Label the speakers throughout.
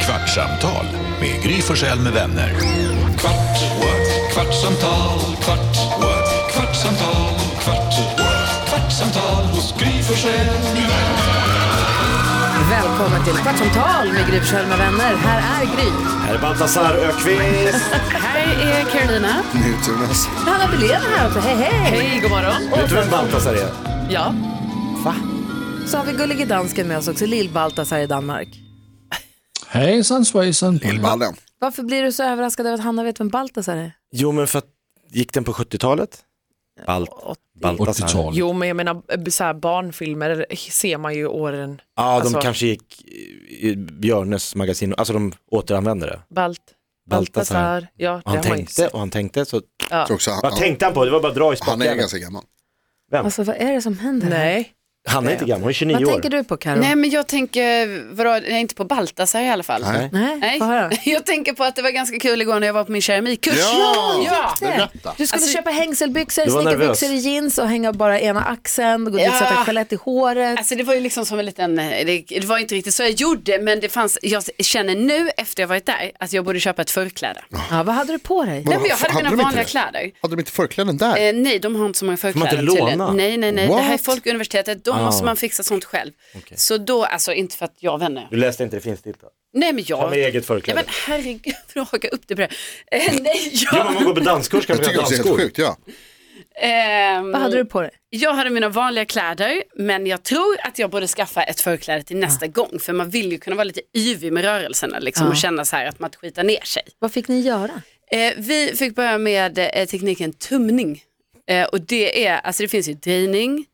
Speaker 1: Kvartsamtal med Gry Forssell med vänner. Kvart, what? kvartsamtal, kvart, what? kvartsamtal, kvart, what? kvartsamtal hos Gry Forssell med vänner.
Speaker 2: Välkommen till Kvartsamtal med Gry Forssell med vänner. Här är Gry.
Speaker 3: Här är Baltasar Ökvist.
Speaker 4: Här är Carolina.
Speaker 3: Nyhetsjonas.
Speaker 2: Hanna Billén är här också. Hej, hej!
Speaker 4: Hej, god morgon.
Speaker 3: Vet du vem Baltasar är?
Speaker 4: Ja.
Speaker 3: Va?
Speaker 2: Så har vi Gullige Dansken med oss också, Lill-Baltasar i Danmark.
Speaker 5: Hejsan svejsan.
Speaker 6: Lillballen.
Speaker 2: Varför blir du så överraskad över att Hanna vet vem Baltasar är?
Speaker 3: Jo, men för att gick den på 70-talet? Balt, Baltasar.
Speaker 5: 80-tal.
Speaker 4: Jo, men jag menar eh, så här, barnfilmer ser man ju åren.
Speaker 3: Ja, de
Speaker 4: Alltså-
Speaker 3: kanske gick i i Björnes magasin, alltså de återanvände det.
Speaker 4: Balt,
Speaker 3: Baltasar.
Speaker 4: Baltasar. Ja, det
Speaker 3: Och han
Speaker 4: har man ju
Speaker 3: tänkte
Speaker 4: sett.
Speaker 3: och han tänkte. Så...
Speaker 4: Ja.
Speaker 6: Tror också han,
Speaker 3: Vad tänkte han på? Det var bara att dra i
Speaker 6: han är
Speaker 3: spakarna.
Speaker 6: ganska gammal.
Speaker 2: Alltså vad är det som händer? här?
Speaker 4: Nej.
Speaker 3: Han är inte gammal, han är 29
Speaker 2: Vad
Speaker 3: år.
Speaker 2: tänker du på Karo?
Speaker 7: Nej men jag tänker, vadå, jag är inte på Baltasar i alla fall.
Speaker 6: Nej.
Speaker 2: Nej,
Speaker 7: Nej.
Speaker 2: få höra.
Speaker 7: Jag tänker på att det var ganska kul igår när jag var på min keramikkurs.
Speaker 6: Ja!
Speaker 7: ja.
Speaker 6: Berätta.
Speaker 2: Du skulle
Speaker 7: Alltså-
Speaker 2: köpa hängselbyxor,
Speaker 3: Du var
Speaker 2: snickarbyxor i
Speaker 3: nervös.
Speaker 2: jeans och hänga bara ena axeln, gå dit och
Speaker 7: Ja.
Speaker 2: sätta skelett i håret.
Speaker 7: Alltså det var ju liksom som en liten, eh, det, det var inte riktigt så jag gjorde men det fanns, jag känner nu efter jag varit där att jag borde köpa ett förkläde.
Speaker 2: Ja, vad hade du på dig?
Speaker 7: Nej men jag
Speaker 6: Hade
Speaker 7: hade
Speaker 6: de
Speaker 7: mina
Speaker 6: inte
Speaker 7: vanliga
Speaker 6: det?
Speaker 7: kläder.
Speaker 6: Hade de inte förkläden där?
Speaker 7: Eh, nej, de har inte så många
Speaker 3: man
Speaker 7: förkläden.
Speaker 3: inte
Speaker 7: tydligen.
Speaker 3: låna?
Speaker 7: Nej, nej, nej. Det här är
Speaker 6: What?
Speaker 7: Folkuniversitetet, då
Speaker 3: Ah.
Speaker 7: måste man fixa sånt själv. Så då, alltså inte för att jag vänner.
Speaker 3: Du läste inte det finstilta?
Speaker 7: Nej men
Speaker 3: Ta
Speaker 7: jag,
Speaker 3: med
Speaker 7: nej
Speaker 3: eget förkläde.
Speaker 7: men herregud, jag haka upp det på det. Eh, nej,
Speaker 3: Jo, men man går på danskurs kan
Speaker 6: jag
Speaker 3: man
Speaker 6: tycker
Speaker 3: göra
Speaker 6: också det
Speaker 3: dansskor.
Speaker 6: är helt sjukt, ja.
Speaker 7: Ehm,
Speaker 2: Vad hade du på dig?
Speaker 7: Jag hade mina vanliga kläder men jag tror att jag borde skaffa ett förkläde till
Speaker 3: Ah.
Speaker 7: nästa gång för man vill ju kunna vara lite yvig med rörelserna liksom, och känna så här att man inte skitar ner sig.
Speaker 2: Vad fick ni göra?
Speaker 7: Eh, vi fick börja med eh, tekniken tumning eh, och det är, alltså det finns ju drejning,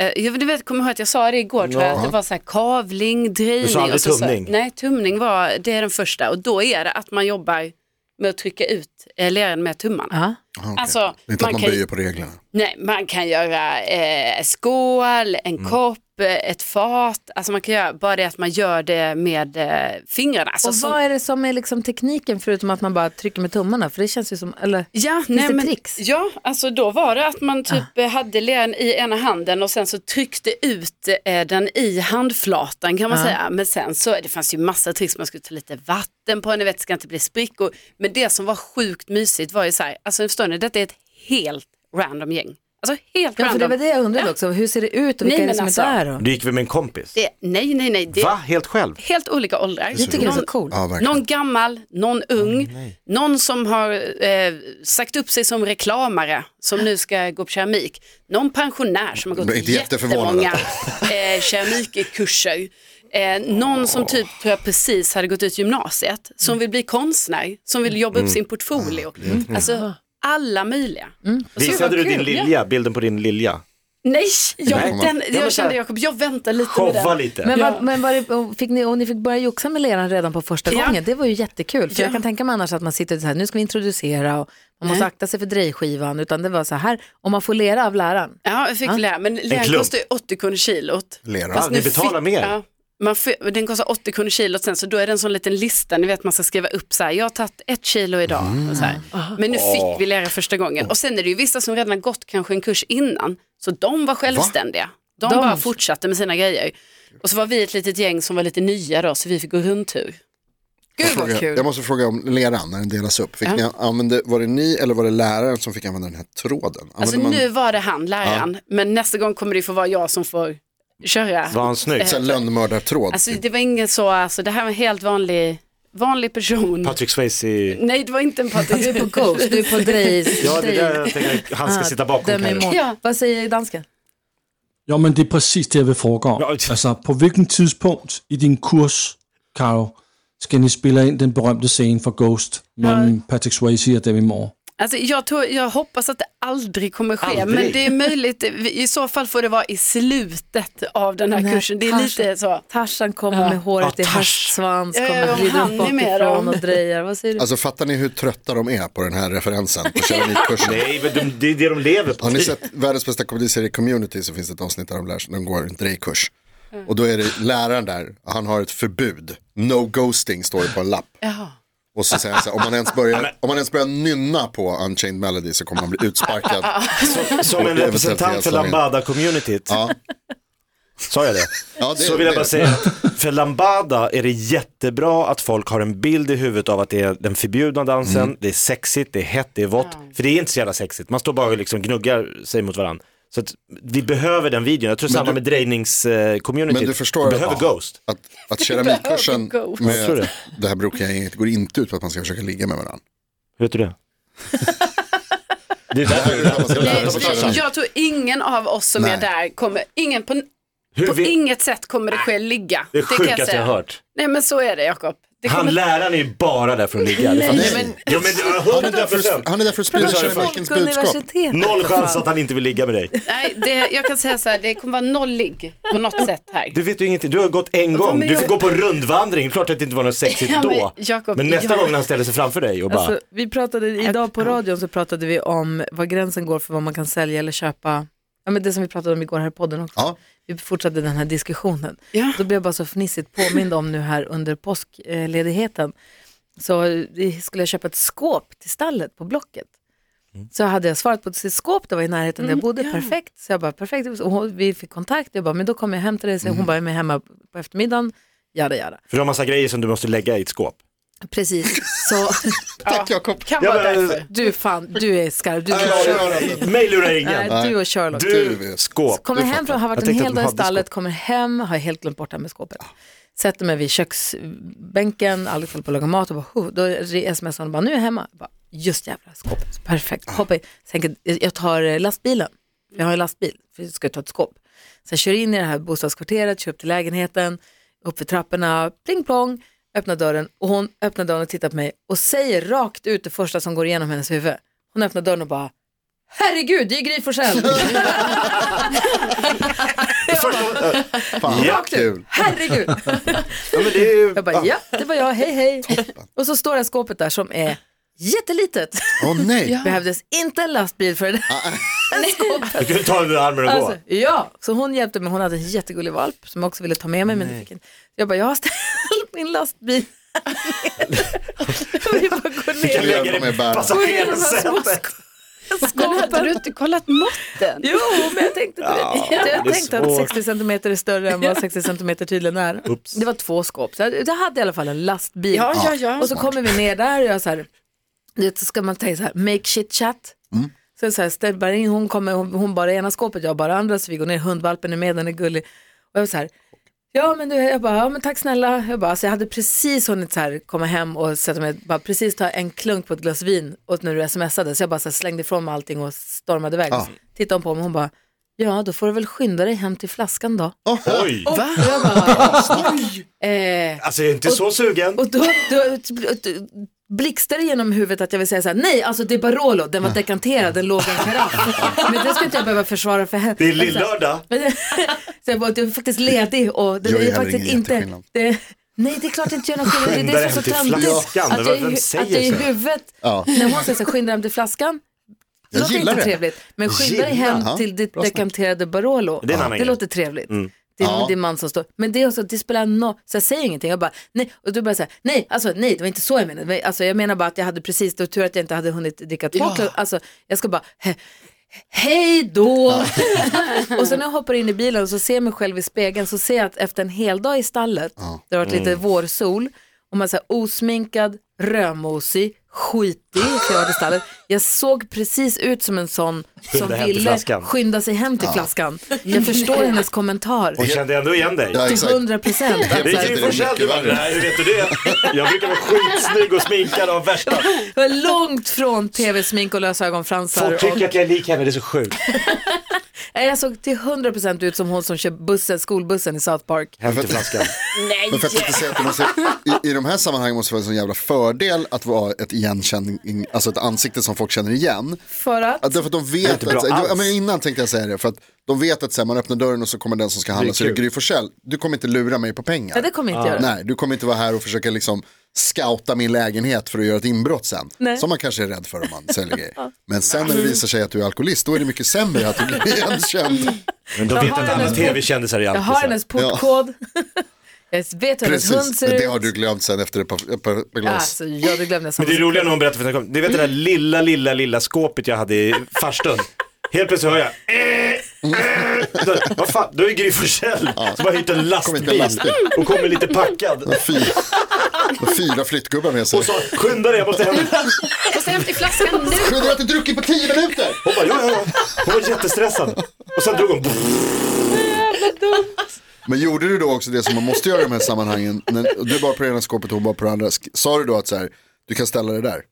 Speaker 7: eh, jag du vet, kommer ihåg att jag sa det igår tror jag, att det var så här kavling, drejning.
Speaker 3: aldrig
Speaker 7: och så,
Speaker 3: tumning?
Speaker 7: Så, nej, tumning var, det är den första och då är det att man jobbar med att trycka ut eh, leran med tummarna.
Speaker 2: Ja.
Speaker 6: Aha, Ah, okej.
Speaker 7: Alltså,
Speaker 6: det är inte att man
Speaker 7: kan ju-
Speaker 6: böjer på reglerna.
Speaker 7: Nej, man kan göra eh, skål, en
Speaker 6: Mm.
Speaker 7: kopp, eh, ett fat. Alltså man kan göra bara det att man gör det med eh, fingrarna. Alltså,
Speaker 2: Och
Speaker 7: så-
Speaker 2: vad är det som är liksom tekniken förutom att man bara trycker med tummarna? För det känns ju som, eller?
Speaker 7: Ja,
Speaker 2: det
Speaker 7: nej, men,
Speaker 2: tricks? Ah.
Speaker 7: ja, alltså då var det att man typ eh, hade leran i ena handen och sen så tryckte ut eh, den i handflatan kan man
Speaker 2: Ah.
Speaker 7: säga. Men sen så, det fanns ju massa tricks, man skulle ta lite vatten på den, ni vet, det ska inte bli sprickor. Men det som var sjukt mysigt var ju så här, alltså förstår ni, detta är ett helt random gäng. Alltså helt
Speaker 2: Ja, för
Speaker 7: random.
Speaker 2: det var det jag undrade också. Hur ser det ut och vilka
Speaker 7: Nej,
Speaker 2: är det
Speaker 7: men
Speaker 2: som
Speaker 7: alltså-
Speaker 2: är där? Och...
Speaker 3: Du gick väl med en kompis?
Speaker 7: Det, nej, nej, nej. Det,
Speaker 3: Va? Helt själv?
Speaker 7: helt olika åldrar.
Speaker 2: Jag tycker det är så
Speaker 7: någon,
Speaker 2: coolt.
Speaker 6: Ja, verkligen.
Speaker 7: någon gammal, någon ung, någon som har eh, sagt upp sig som reklamare som nu ska gå på keramik, någon pensionär som har gått
Speaker 6: Men inte jätteförvånande.
Speaker 7: jättemånga eh, keramikkurser, eh, någon som typ tror jag precis hade gått ut gymnasiet, som vill bli konstnär, som vill jobba
Speaker 2: Mm.
Speaker 7: upp sin portfolio. Alltså, alla möjliga. Och så-
Speaker 3: Mm. Visade du din
Speaker 7: kul.
Speaker 3: lilja, bilden på din lilja?
Speaker 7: Nej,
Speaker 3: Nej.
Speaker 7: jag,
Speaker 3: Ja,
Speaker 7: den,
Speaker 3: men
Speaker 7: jag
Speaker 3: så här-
Speaker 7: kände Jakob, jag väntar lite med
Speaker 3: Showa
Speaker 7: den.
Speaker 3: lite.
Speaker 2: Men, var, men var det, och fick ni, och ni fick börja joxa med leran redan på första
Speaker 7: Ja.
Speaker 2: gången. Det var ju jättekul. För jag
Speaker 7: Ja.
Speaker 2: kan tänka mig annars att man sitter så här, nu ska vi introducera och man måste
Speaker 7: Nej.
Speaker 2: akta sig för drejskivan. Utan det var så här, om man får lera av läraren.
Speaker 7: Ja, jag fick lära men läran
Speaker 3: klump.
Speaker 7: kostar ju 80 kronor kilot.
Speaker 6: Lera.
Speaker 3: Fast ni
Speaker 7: nu
Speaker 3: betalar
Speaker 7: fick-
Speaker 3: mer.
Speaker 7: Ja, man får, den kostar 80 kronor kilot sen, så då är det en sån liten lista, ni vet man ska skriva upp så här, jag har tagit ett kilo idag. Och så
Speaker 2: Mm.
Speaker 7: här. Men nu fick vi lära första gången. Och sen är det ju vissa som redan har gått kanske en kurs innan, så de var självständiga. De,
Speaker 2: De-
Speaker 7: bara fortsatte med sina grejer. Och så var vi ett litet gäng som var lite nya då, så vi fick gå rundtur.
Speaker 2: Gud vad
Speaker 6: Fråga-
Speaker 2: kul.
Speaker 6: Jag måste fråga om leran när den delas upp. Fick ni använde, var det ni eller var det läraren som fick använda den här tråden? Använde
Speaker 7: Alltså
Speaker 6: man
Speaker 7: nu var det han, läraren, men nästa gång kommer det få vara jag som får köra.
Speaker 3: Var han snygg?
Speaker 6: så här lönnmördartråd?
Speaker 7: Alltså det var ingen så, alltså det här var en helt vanlig, vanlig person.
Speaker 3: Patrik Swayze
Speaker 7: Nej det var inte en Patrik.
Speaker 2: Du är på Ghost, du är på Drejs.
Speaker 3: Ja, det där jag tänker, han ska sitta bakom Carro.
Speaker 7: Ja.
Speaker 2: Vad säger dansken?
Speaker 5: Ja, men det är precis det, jeg vil foregå.
Speaker 3: Nå,
Speaker 5: Altså, på hvilken tidspunkt i din kurs, Karo, skal ni spille ind den berømte scene fra Ghost mellem Patrick Swayze och Demi Moore?
Speaker 7: Alltså, jag, tror, jag hoppas att det aldrig kommer ske,
Speaker 3: Aldrig?
Speaker 7: men det är möjligt. I så fall får det vara i slutet av den här
Speaker 2: Nej,
Speaker 7: kursen. Det är
Speaker 2: kanske.
Speaker 7: lite så.
Speaker 2: Tarsan kommer med håret i hästsvans,
Speaker 7: Ja, ja,
Speaker 2: kommer
Speaker 7: om
Speaker 2: rider
Speaker 7: han
Speaker 2: upp
Speaker 7: är med
Speaker 2: bakifrån
Speaker 7: då.
Speaker 2: och drejar. Vad säger du?
Speaker 6: Alltså fattar ni hur trötta de är på den här referensen på keramikkursen?
Speaker 3: Nej, men de, det är det de lever på.
Speaker 6: Har ni sett världens bästa komediserie Community så finns det ett avsnitt där de, lär, sig- de går en drejkurs. Och då är det läraren där, han har ett förbud, no ghosting står det på en lapp. Och så säger han så här, om man ens börjar, om man ens börjar nynna på Unchained Melody så kommer man bli utsparkad.
Speaker 3: Som en representant för Lambada-communityt. Sa jag det?
Speaker 6: Ja, det-
Speaker 3: så vill jag
Speaker 6: det-
Speaker 3: bara säga, att för lambada är det jättebra att folk har en bild i huvudet av att det är den förbjudna dansen,
Speaker 6: Mm.
Speaker 3: det är sexigt, det är hett, det är vått. För det är inte så jävla sexigt, man står bara och liksom gnuggar sig mot varandra. Så att vi behöver den videon, jag tror samma
Speaker 6: du-
Speaker 3: med drejnings-communityt.
Speaker 6: Men du förstår att-
Speaker 3: behöver Ghost.
Speaker 6: Att, att keramikkursen
Speaker 7: Ghost.
Speaker 3: Jag tror
Speaker 6: med
Speaker 3: det.
Speaker 6: det här brokiga-gänget går inte ut på att man ska försöka ligga med varandra.
Speaker 3: Vet du det? det är därför
Speaker 6: Det är därför man ska lära sig
Speaker 7: Nej,
Speaker 6: köra.
Speaker 7: jag tror ingen av oss som
Speaker 6: Nej.
Speaker 7: är där kommer, ingen på,
Speaker 3: Hur
Speaker 7: på
Speaker 3: vi-
Speaker 7: inget sätt kommer det ske ligga.
Speaker 3: det är
Speaker 7: kan
Speaker 3: sjukaste jag
Speaker 7: säga.
Speaker 3: har hört.
Speaker 7: Nej men så är det Jakob. Det
Speaker 3: Han
Speaker 7: kommer-
Speaker 3: läraren är ju bara där för att ligga. Det fattar
Speaker 6: Nej,
Speaker 3: jag. Jo men
Speaker 6: Han är där
Speaker 3: 100
Speaker 6: för
Speaker 3: procent.
Speaker 6: att- han är där för att sprida
Speaker 3: sa det
Speaker 6: keramikens budskap.
Speaker 3: Noll chans att han inte vill ligga med dig.
Speaker 7: Nej, det, jag kan säga så här, det kommer vara noll ligg på något sätt här.
Speaker 3: Du vet ju ingenting, du har gått en
Speaker 7: Ja,
Speaker 3: gång.
Speaker 7: men
Speaker 3: Du får
Speaker 7: jag-
Speaker 3: gå på rundvandring, klart att det inte var något sexigt
Speaker 7: Ja, men
Speaker 3: då.
Speaker 7: Jakob,
Speaker 3: Men nästa
Speaker 7: jag-
Speaker 3: gång när han ställer sig framför dig och bara,
Speaker 2: Alltså, vi pratade idag på radion så pratade vi om vad gränsen går för vad man kan sälja eller köpa. Ja, men det som vi pratade om igår här i podden också.
Speaker 6: Ja.
Speaker 2: Vi fortsatte den här diskussionen.
Speaker 7: Ja.
Speaker 2: Då blev jag bara så fnissigt påmind om nu här under påskledigheten. Så eh, skulle jag köpa ett skåp till stallet på Blocket. Så hade jag svarat på ett skåp, det var i närheten där jag bodde, perfekt. Så jag bara, perfekt. Och hon, vi fick kontakt, jag bara, men då kommer jag hem till dig. Så hon bara, jag är med hemma på eftermiddagen, jada jada.
Speaker 3: för du har massa grejer som du måste lägga i ett skåp.
Speaker 2: Precis, så
Speaker 6: Tack Jakob.
Speaker 7: Kan
Speaker 3: Ja,
Speaker 7: vara
Speaker 3: men-
Speaker 7: därför.
Speaker 2: du fan, du är skarp. Du,
Speaker 6: Ja, ja, ja, ja.
Speaker 3: Mig lurar ingen.
Speaker 2: Nej, du och Sherlock.
Speaker 3: Du, skåp.
Speaker 2: Kommer hem från, har
Speaker 3: Jag
Speaker 2: varit en
Speaker 3: tänkte
Speaker 2: hel
Speaker 3: att de
Speaker 2: dag i
Speaker 3: hade
Speaker 2: stallet, kommer hem, har helt glömt bort det här med skåpet. Sätter mig vid köksbänken, aldrig koll på att laga mat och bara, huh, då re- smsar hon bara, nu är jag hemma. Jag bara, Just jävla skåpet, Så perfekt. Hoppar i, tänker, jag tar eh, lastbilen, För jag har en lastbil, för jag ska ta ett skåp. Sen kör in i det här bostadskvarteret, kör upp till lägenheten, upp för trapporna, pling plong, öppnar dörren och hon öppnar dörren och tittar på mig och säger rakt ut det första som går igenom hennes huvud. Hon öppnar dörren och bara, herregud, det är ju Gry Forssell."
Speaker 6: Fan,
Speaker 3: Ja.
Speaker 6: kul.
Speaker 2: herregud.
Speaker 3: Ja, men det är ju,
Speaker 2: Jag bara, ja, det var jag, hej hej. Och så står det här skåpet där som är jättelitet.
Speaker 6: Åh nej.
Speaker 2: Behövdes inte en lastbil för det där
Speaker 3: Ah,
Speaker 2: skåpet.
Speaker 3: du kan ju ta den under armen och
Speaker 2: Alltså,
Speaker 3: gå.
Speaker 2: ja, så hon hjälpte mig, hon hade en jättegullig valp som jag också ville ta med mig. Men det fick en... Jag bara, jag har ställt min lastbil här nere. Jag vill bara gå
Speaker 3: Du kan
Speaker 2: ner.
Speaker 6: jag
Speaker 3: lägga
Speaker 6: de
Speaker 3: den
Speaker 6: är
Speaker 3: i
Speaker 6: bära.
Speaker 3: passagerarsätet.
Speaker 7: Men hade du inte kollat måtten?
Speaker 2: Jo, men jag tänkte inte det. Jag
Speaker 3: det är
Speaker 2: tänkte att
Speaker 3: svårt.
Speaker 2: 60 cm är större än vad 60 cm tydligen är. Det var två skåp, så jag jag hade i alla fall en lastbil.
Speaker 7: Ja, ja, ja.
Speaker 2: Och så kommer vi ner där och jag så här, du vet, så ska man tänka så här, make shit chat. Så jag så här, ställ bara in, hon kommer, hon, hon bara i ena skåpet, jag bara i andra, så vi går ner, hundvalpen är med, den är gullig. Och jag var så här, ja men du, jag bara, ja men tack snälla. Jag bara, alltså jag hade precis hunnit så här komma hem och sätta mig, bara precis ta en klunk på ett glas vin och när du smsade, så jag bara så här, slängde ifrån mig allting och stormade iväg.
Speaker 6: Ja.
Speaker 2: Tittade hon på mig, hon bara, ja då får du väl skynda dig hem till flaskan då.
Speaker 3: Oj,
Speaker 2: Va? Jag bara, eh,
Speaker 3: alltså jag är inte så sugen.
Speaker 2: och då, då, då blixtrar det genom huvudet att jag vill säga så här, nej alltså det är Barolo, den
Speaker 3: Mm.
Speaker 2: var dekanterad, den låg i en karaff. Men det ska inte jag behöva försvara för henne.
Speaker 3: Det är lillördag.
Speaker 2: Men- så jag var jag är faktiskt ledig och det
Speaker 6: Gör ju
Speaker 2: är
Speaker 6: heller
Speaker 2: faktiskt
Speaker 6: ingen
Speaker 2: inte...
Speaker 6: jätteskillnad.
Speaker 2: Det, nej, det är klart det inte gör någon skillnad. Det är
Speaker 3: Skynda
Speaker 2: det som är
Speaker 3: hem
Speaker 2: så
Speaker 3: till
Speaker 2: töntigt.
Speaker 3: flaskan.
Speaker 2: Att, jag
Speaker 3: Vem
Speaker 2: i hu-
Speaker 3: säger
Speaker 2: att jag i
Speaker 3: så?
Speaker 2: huvudet,
Speaker 6: Ja.
Speaker 2: när hon säger så här, skynda hem till flaskan. Det låter
Speaker 6: gillar
Speaker 2: inte
Speaker 6: det.
Speaker 2: trevligt. Men skynda dig hem
Speaker 6: Ja,
Speaker 2: till ditt dekanterade Barolo.
Speaker 3: Det är en annan grej. Mm.
Speaker 2: låter trevligt. Det är
Speaker 6: Ja.
Speaker 2: din man som står. Men det är också, det spelar no... Så jag säger ingenting. Jag bara, nej. Och du bara säger nej, alltså nej, det var inte så jag menade. Det var- Alltså jag menar bara att jag hade precis, det var tur att jag inte hade hunnit dricka två ja. Alltså jag ska bara, he, hej då. och sen när jag hoppar in i bilen och så ser jag mig själv i spegeln så ser jag att efter en hel dag i stallet, det har varit lite
Speaker 3: Mm.
Speaker 2: vårsol, och man är så här osminkad, rödmosig, skitig, för jag har varit i stallet. Jag såg precis ut som en sån som
Speaker 3: hem till
Speaker 2: ville
Speaker 3: flaskan.
Speaker 2: skynda sig hem till flaskan. Jag förstår hennes kommentar.
Speaker 3: Hon kände ändå igen dig.
Speaker 6: Ja,
Speaker 2: Till
Speaker 6: exakt.
Speaker 2: hundra procent. Alltså,
Speaker 3: Det är
Speaker 6: Det
Speaker 3: ju
Speaker 6: är
Speaker 3: Forssell du
Speaker 6: mycket
Speaker 3: bara,
Speaker 6: värre.
Speaker 3: nej hur vet du det? Jag brukar vara skitsnygg och sminkad av värsta.
Speaker 2: Jag är långt från tv-smink och lösa ögonfransar.
Speaker 3: Folk
Speaker 2: Och,
Speaker 3: tycker att jag är lik henne, det är så sjukt.
Speaker 2: Nej, jag såg till hundra procent ut som hon som kör bussen, skolbussen i South Park.
Speaker 3: Hem till flaskan.
Speaker 6: Men för att inte säga att det måste, i, I de här sammanhangen måste det vara en sån jävla fördel att vara ett igenkänning, alltså ett ansikte som folk känner igen.
Speaker 2: För att?
Speaker 6: Ja, därför att de
Speaker 3: är
Speaker 6: vet
Speaker 3: inte
Speaker 6: att,
Speaker 3: bra
Speaker 6: ja,
Speaker 3: alls.
Speaker 6: men innan tänkte jag säga det, för att de vet att så här, man öppnar dörren och så kommer den som ska handla, så är det
Speaker 3: kul. Ah.
Speaker 6: Gry Forssell. Du kommer inte lura mig på pengar.
Speaker 2: Nej, det kommer jag inte göra.
Speaker 6: Nej, du kommer inte vara här och försöka liksom scouta min lägenhet för att göra ett inbrott sen. Som man kanske är rädd för om man säljer grejer. Men sen när det
Speaker 2: Mm.
Speaker 6: visar sig att du är alkoholist, då är det mycket sämre att du blir igenkänd.
Speaker 3: Men då vet
Speaker 2: har
Speaker 3: att
Speaker 2: hennes
Speaker 3: alla
Speaker 2: bok.
Speaker 3: tv-kändisar liksom. är
Speaker 2: Jag har
Speaker 3: alkisar.
Speaker 2: hennes portkod. Jag vet hur hennes hund
Speaker 6: Precis, men
Speaker 2: ser
Speaker 6: det
Speaker 2: ut.
Speaker 6: har du glömt sen efter ett par, ett par par glas.
Speaker 2: Alltså, ja, det glömde jag.
Speaker 3: Men det är roligare när hon berättar för att jag kom. Det vet det där lilla, lilla, lilla skåpet jag hade i farstun. Helt plötsligt hör jag, eh, Så, vad fan, då är Gry Forssell som har hyrt en
Speaker 6: inte en
Speaker 3: lastbil
Speaker 6: lastbil.
Speaker 3: och kommer lite packad.
Speaker 6: Fy, fyra flyttgubbar med sig.
Speaker 3: Och så skynda dig, jag måste hem.
Speaker 7: Alltså, Jag ska hämta i flaskan nu.
Speaker 6: Kunde du inte druckit på tio minuter?
Speaker 3: Hon bara, ja, ja, ja. Hon var jättestressad. Och sen drog hon.
Speaker 6: Men gjorde du då också det som man måste göra i de här sammanhangen? När du bara på det ena skåpet och hon bara på det andra. Sk- Sa du då att så här, du kan ställa det där?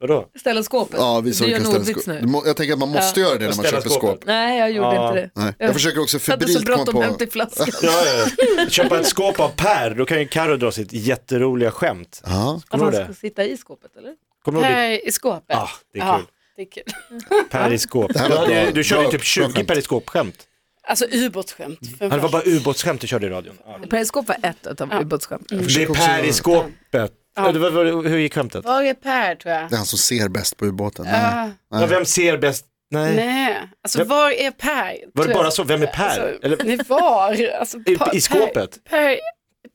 Speaker 3: Vadå?
Speaker 2: Ställa skåpet.
Speaker 6: Ja, vi sa
Speaker 2: du
Speaker 6: du
Speaker 2: gör
Speaker 6: kan
Speaker 2: en
Speaker 6: ställa
Speaker 2: ordvits
Speaker 6: skåp.
Speaker 2: nu.
Speaker 6: Du må- Jag tänker att man måste göra det när man
Speaker 3: ställa
Speaker 6: köper
Speaker 3: skåpet.
Speaker 6: skåp.
Speaker 2: Nej, jag gjorde
Speaker 3: Ja.
Speaker 2: inte det.
Speaker 6: Nej. Jag försöker också
Speaker 2: Jag hade så
Speaker 6: febrilt komma
Speaker 2: bråttom
Speaker 6: på.
Speaker 2: hem till flaskan.
Speaker 3: Ja, ja, ja. Köpa ett skåp av Per, då kan ju Carro dra sitt jätteroliga skämt.
Speaker 6: Ja,
Speaker 2: Att
Speaker 3: Kommer
Speaker 2: han
Speaker 3: du
Speaker 2: ska
Speaker 3: det?
Speaker 2: sitta i skåpet eller?
Speaker 3: Kommer du ihåg
Speaker 7: Här i skåpet.
Speaker 3: Ah, det är
Speaker 7: Ja,
Speaker 3: kul.
Speaker 7: det är kul.
Speaker 3: ditt Per i skåp?
Speaker 6: här
Speaker 3: Du,
Speaker 6: var
Speaker 3: hade,
Speaker 6: bra.
Speaker 3: du körde ju
Speaker 6: Bra-
Speaker 3: typ
Speaker 6: bra
Speaker 3: 20
Speaker 6: skämt.
Speaker 3: Per i skåp-skämt.
Speaker 7: Alltså ubåtsskämt. för
Speaker 3: Ja, Det var
Speaker 7: fan.
Speaker 3: bara ubåtsskämt du körde i radion. Ja.
Speaker 2: Periskop var ett utav ubåtsskämten.
Speaker 3: Det är Per i skåpet. Ja. det var- var- Hur gick skämtet?
Speaker 7: Var är Per tror jag?
Speaker 6: det är han som ser bäst på ubåten. Nej.
Speaker 7: Ah,
Speaker 3: Ja, vem ser bäst? Nej.
Speaker 7: nej, alltså
Speaker 3: Vem-
Speaker 7: var är Per?
Speaker 3: Var det
Speaker 7: Tror
Speaker 3: bara
Speaker 7: jag.
Speaker 3: så? Vem är Per?
Speaker 7: Alltså,
Speaker 3: Eller,
Speaker 7: Nej, var? Alltså,
Speaker 3: I-
Speaker 7: Pa-
Speaker 3: i skåpet?
Speaker 7: Per, per,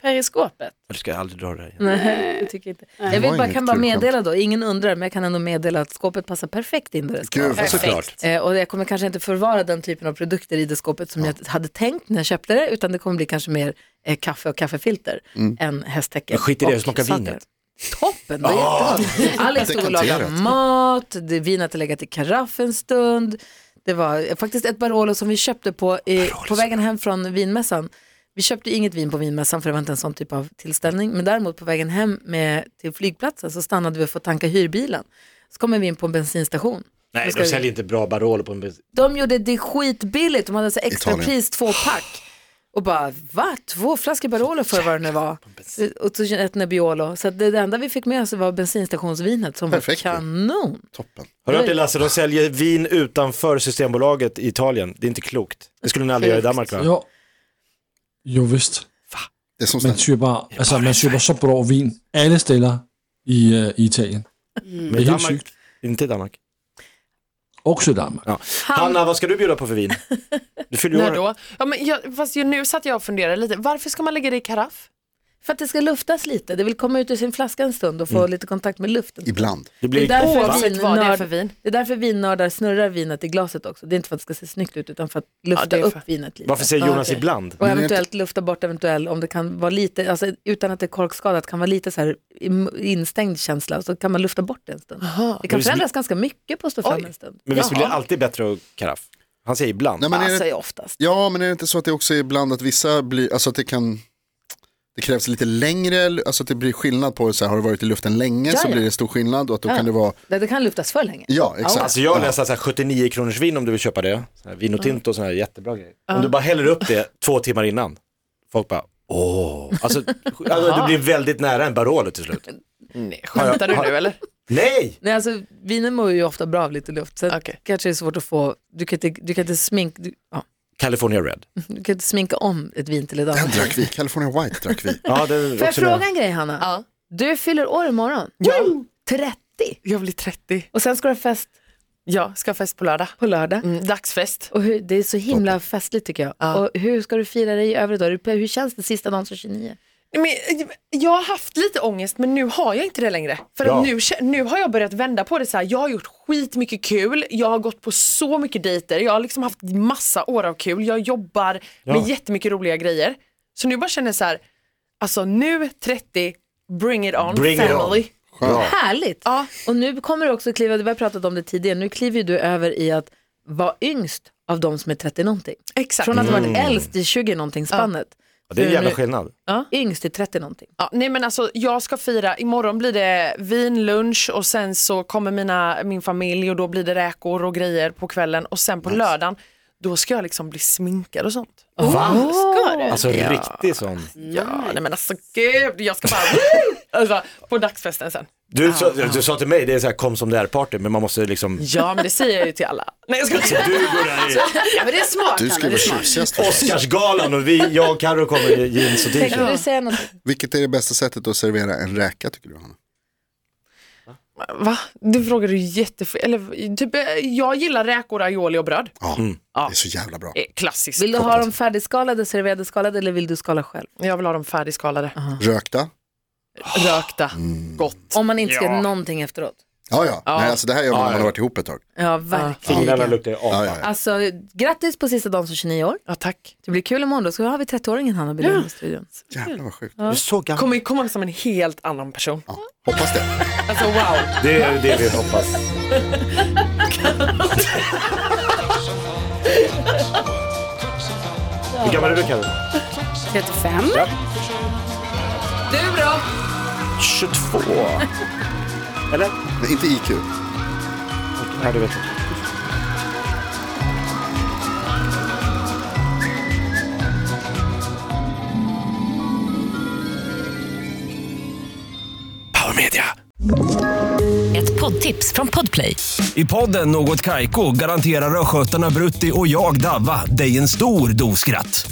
Speaker 7: per i skåpet.
Speaker 3: du ska aldrig dra det här igen.
Speaker 2: Nej, jag tycker inte. Jag
Speaker 6: var
Speaker 2: vill bara,
Speaker 6: inget
Speaker 2: kan bara
Speaker 6: kul
Speaker 2: meddela då, ingen undrar, men jag kan ändå meddela att skåpet passar perfekt in där det ska
Speaker 6: Gud,
Speaker 2: vara.
Speaker 6: vad
Speaker 7: Perfekt.
Speaker 3: Såklart.
Speaker 2: Eh, och jag kommer kanske inte förvara den typen av produkter i det skåpet som jag hade tänkt när jag köpte det, utan det kommer bli kanske mer eh, kaffe och kaffefilter än hästtäcke.
Speaker 3: Men skit Mm. i det,
Speaker 2: och
Speaker 3: hur smakar
Speaker 2: salter.
Speaker 3: vinet? Ah.
Speaker 2: Toppen, det är jättegott. Alex stod och lagade
Speaker 6: Dekanterat.
Speaker 2: mat, det, vinet hade legat i karaff en stund. Det var eh, faktiskt ett Barolo som vi köpte på, eh, på vägen hem från vinmässan. Vi köpte inget vin på vinmässan för det var inte en sån typ av tillställning. Men däremot på vägen hem med, till flygplatsen så stannade vi för att tanka hyrbilen. Så kommer vi in på en bensinstation.
Speaker 3: Nej,
Speaker 2: Nu ska
Speaker 3: de
Speaker 2: vi-
Speaker 3: säljer inte bra Barolo på en bensin.
Speaker 2: de gjorde det skitbilligt, de hade så extra
Speaker 6: Italien.
Speaker 2: pris två pack. Och bara, va? Två flaskor Barolo för vad det nu var. Eh, Och så ett Nebbiolo. Så att det enda vi fick med oss var bensinstationsvinet som
Speaker 6: Perfekt.
Speaker 2: var kanon.
Speaker 6: Toppen.
Speaker 3: Har du hört det Lasse? De säljer vin utanför Systembolaget i Italien. Det är inte klokt. Det skulle ni aldrig göra i Danmark va?
Speaker 5: Jo, jo vist.
Speaker 6: Det är som
Speaker 5: Man
Speaker 6: sånt
Speaker 5: køber, altså, man køber så bra vin alle steder i, øh, i Italien.
Speaker 3: Men
Speaker 5: Det är
Speaker 3: i
Speaker 5: helt
Speaker 3: Danmark.
Speaker 5: sjukt.
Speaker 3: Inte i Danmark.
Speaker 5: Også i Danmark.
Speaker 3: Ja. Hanna, vad ska du bjuda på för vin? Du fyller ju
Speaker 4: När
Speaker 3: år.
Speaker 4: då? Ja, men jag, fast ju nu satt jag och funderade lite. Varför ska man lägga det i karaff?
Speaker 2: För att det ska luftas lite, det vill komma ut ur sin flaska en stund och få lite kontakt med luften.
Speaker 6: ibland.
Speaker 3: Mm.
Speaker 2: Det
Speaker 3: Det
Speaker 2: är,
Speaker 3: blir
Speaker 2: därför
Speaker 4: Oavsett vad det är
Speaker 2: vinnörd,
Speaker 4: för vin.
Speaker 2: det är därför vinnördar snurrar vinet i glaset också. Det är inte för att det ska se snyggt ut utan för att lufta
Speaker 4: det är för-
Speaker 2: upp vinet lite.
Speaker 3: Varför säger
Speaker 2: Ja,
Speaker 3: Jonas
Speaker 2: okej.
Speaker 3: ibland?
Speaker 2: Och eventuellt lufta bort eventuell, om det kan vara lite, alltså, utan att det är korkskadat, kan vara lite så här im- instängd känsla och så kan man lufta bort det en stund. Det kan förändras ganska mycket på att stå fram en stund.
Speaker 3: Men visst blir det alltid bättre att karaff? Han säger ibland.
Speaker 6: Nej, men är
Speaker 2: Alltså
Speaker 6: det,
Speaker 2: är oftast.
Speaker 6: ja, men är det inte så att det också är ibland att vissa blir, alltså att det kan, det krävs lite längre, alltså att det blir skillnad på, så här, har det varit i luften länge
Speaker 2: Ja,
Speaker 6: så
Speaker 2: ja.
Speaker 6: blir det stor skillnad och att då
Speaker 2: Ja.
Speaker 6: kan det vara,
Speaker 2: Det, det kan luftas för länge.
Speaker 6: ja exakt.
Speaker 3: Alltså jag läser så här 79 kronors vin om du vill köpa det. Så här, Vin och Tinto och sådana här jättebra grejer. Om du bara häller upp det två timmar innan. Folk bara åh. Alltså, alltså du blir väldigt nära en Barolo till slut.
Speaker 4: Nej, skämtar du nu eller?
Speaker 3: Nej!
Speaker 2: Nej, alltså, vinen mår ju ofta bra av lite luft, så
Speaker 4: Okej.
Speaker 2: kanske det är svårt att få, du kan inte, du kan inte, smink, du, ja,
Speaker 3: California Red.
Speaker 2: du kan inte sminka om ett vin till ett
Speaker 6: Den
Speaker 2: annat.
Speaker 6: drack vi, California White drack vi.
Speaker 3: Ja, det är
Speaker 2: Får jag
Speaker 3: också med.
Speaker 2: fråga en grej Hanna?
Speaker 4: Ja.
Speaker 2: Du fyller år imorgon.
Speaker 4: Ja.
Speaker 2: 30.
Speaker 4: Jag blir 30.
Speaker 2: Och sen ska du ha fest
Speaker 4: Ja, ska ha fest på lördag.
Speaker 2: på lördag.
Speaker 4: Mm, dagsfest.
Speaker 2: Och hur, det är så himla festligt tycker jag.
Speaker 4: Ja.
Speaker 2: Och hur ska du fira dig i övrigt då? Hur- Hur känns det sista dagen som 29?
Speaker 4: Men, jag har haft lite ångest men nu har jag inte det längre. För
Speaker 3: Bra.
Speaker 4: att nu, kä- nu har jag börjat vända på det så här. Jag har gjort skitmycket kul, jag har gått på så mycket dejter, jag har liksom haft massa år av kul, jag jobbar med jättemycket roliga grejer. Så nu bara känner jag så här, alltså nu 30, bring it on
Speaker 3: Bring it on.
Speaker 4: family.
Speaker 2: Härligt!
Speaker 4: Ja.
Speaker 2: Och nu kommer du också kliva, vi har pratat om det tidigare, nu kliver ju du över i att vara yngst av de som är 30 någonting.
Speaker 4: Exakt.
Speaker 2: Från att ha
Speaker 4: Mm.
Speaker 2: varit äldst i 20 någonting spannet.
Speaker 3: Ja, det är en jävla
Speaker 2: Nu-
Speaker 3: skillnad.
Speaker 2: Yngst i 30 någonting.
Speaker 4: Ja, nej men alltså jag ska fira, imorgon blir det vin, lunch och sen så kommer mina, min familj och då blir det räkor och grejer på kvällen och sen på lördagen då ska jag liksom bli sminkad och sånt.
Speaker 3: Va?
Speaker 7: Ska du?
Speaker 3: Alltså riktig sån.
Speaker 4: Ja, nej men alltså gud, jag ska bara alltså, på dagsfesten sen.
Speaker 3: Du, sa, du sa till mig, det är så här kom som det är party, men man måste liksom...
Speaker 4: Ja, men det säger jag ju till alla. Nej, jag ska
Speaker 3: Så du går där i
Speaker 7: Ja, men det är smart.
Speaker 6: Du
Speaker 7: Hanna,
Speaker 6: ska
Speaker 7: det
Speaker 6: vara
Speaker 7: är smart.
Speaker 6: tjusigast. för fan.
Speaker 3: Oscarsgalan och vi, jag och Carro kommer i jeans och t-shirt.
Speaker 2: Tänkte du säga något?
Speaker 6: Vilket är det bästa sättet att servera en räka tycker du Hanna?
Speaker 4: Va? Du frågar du jättefel. Eller typ, eh, jag gillar räkor, aioli och bröd.
Speaker 6: Ja, det är så jävla bra.
Speaker 4: Eh, Klassiskt.
Speaker 2: Vill du ha dem färdigskalade, serverade, skalade eller vill du skala själv?
Speaker 4: Jag vill ha dem färdigskalade.
Speaker 6: Rökta,
Speaker 4: Rökta. Gott. Mm.
Speaker 2: Om man inte ska göra någonting efteråt.
Speaker 6: Ja, ja. Nej, alltså det här gör man när man har varit ihop ett tag.
Speaker 2: Ja,
Speaker 3: Fingrarna
Speaker 2: verkligen.
Speaker 3: luktar ju
Speaker 6: Ja,
Speaker 3: apa.
Speaker 6: ja, ja.
Speaker 2: Alltså, grattis på sista dagen som 29 år.
Speaker 4: Ja, tack.
Speaker 2: Det blir kul imorgon då, så har vi 30-åringen Hanna Bylund i studion.
Speaker 6: Jävlar vad sjukt.
Speaker 3: Du är så gammal.
Speaker 4: Kommer komma som en helt annan person.
Speaker 6: Ja. Hoppas det.
Speaker 4: Alltså wow.
Speaker 3: Det är det vi hoppas. Hur gammal är du Karin?
Speaker 7: 35.
Speaker 4: Du då?
Speaker 3: 22. Eller?
Speaker 6: Nej, inte IQ.
Speaker 3: Nej, du vet inte. Power Media.
Speaker 8: Ett poddtips från Podplay.
Speaker 9: I podden Något Kaiko garanterar östgötarna Brutti och jag, Davva, dig en stor dos skratt.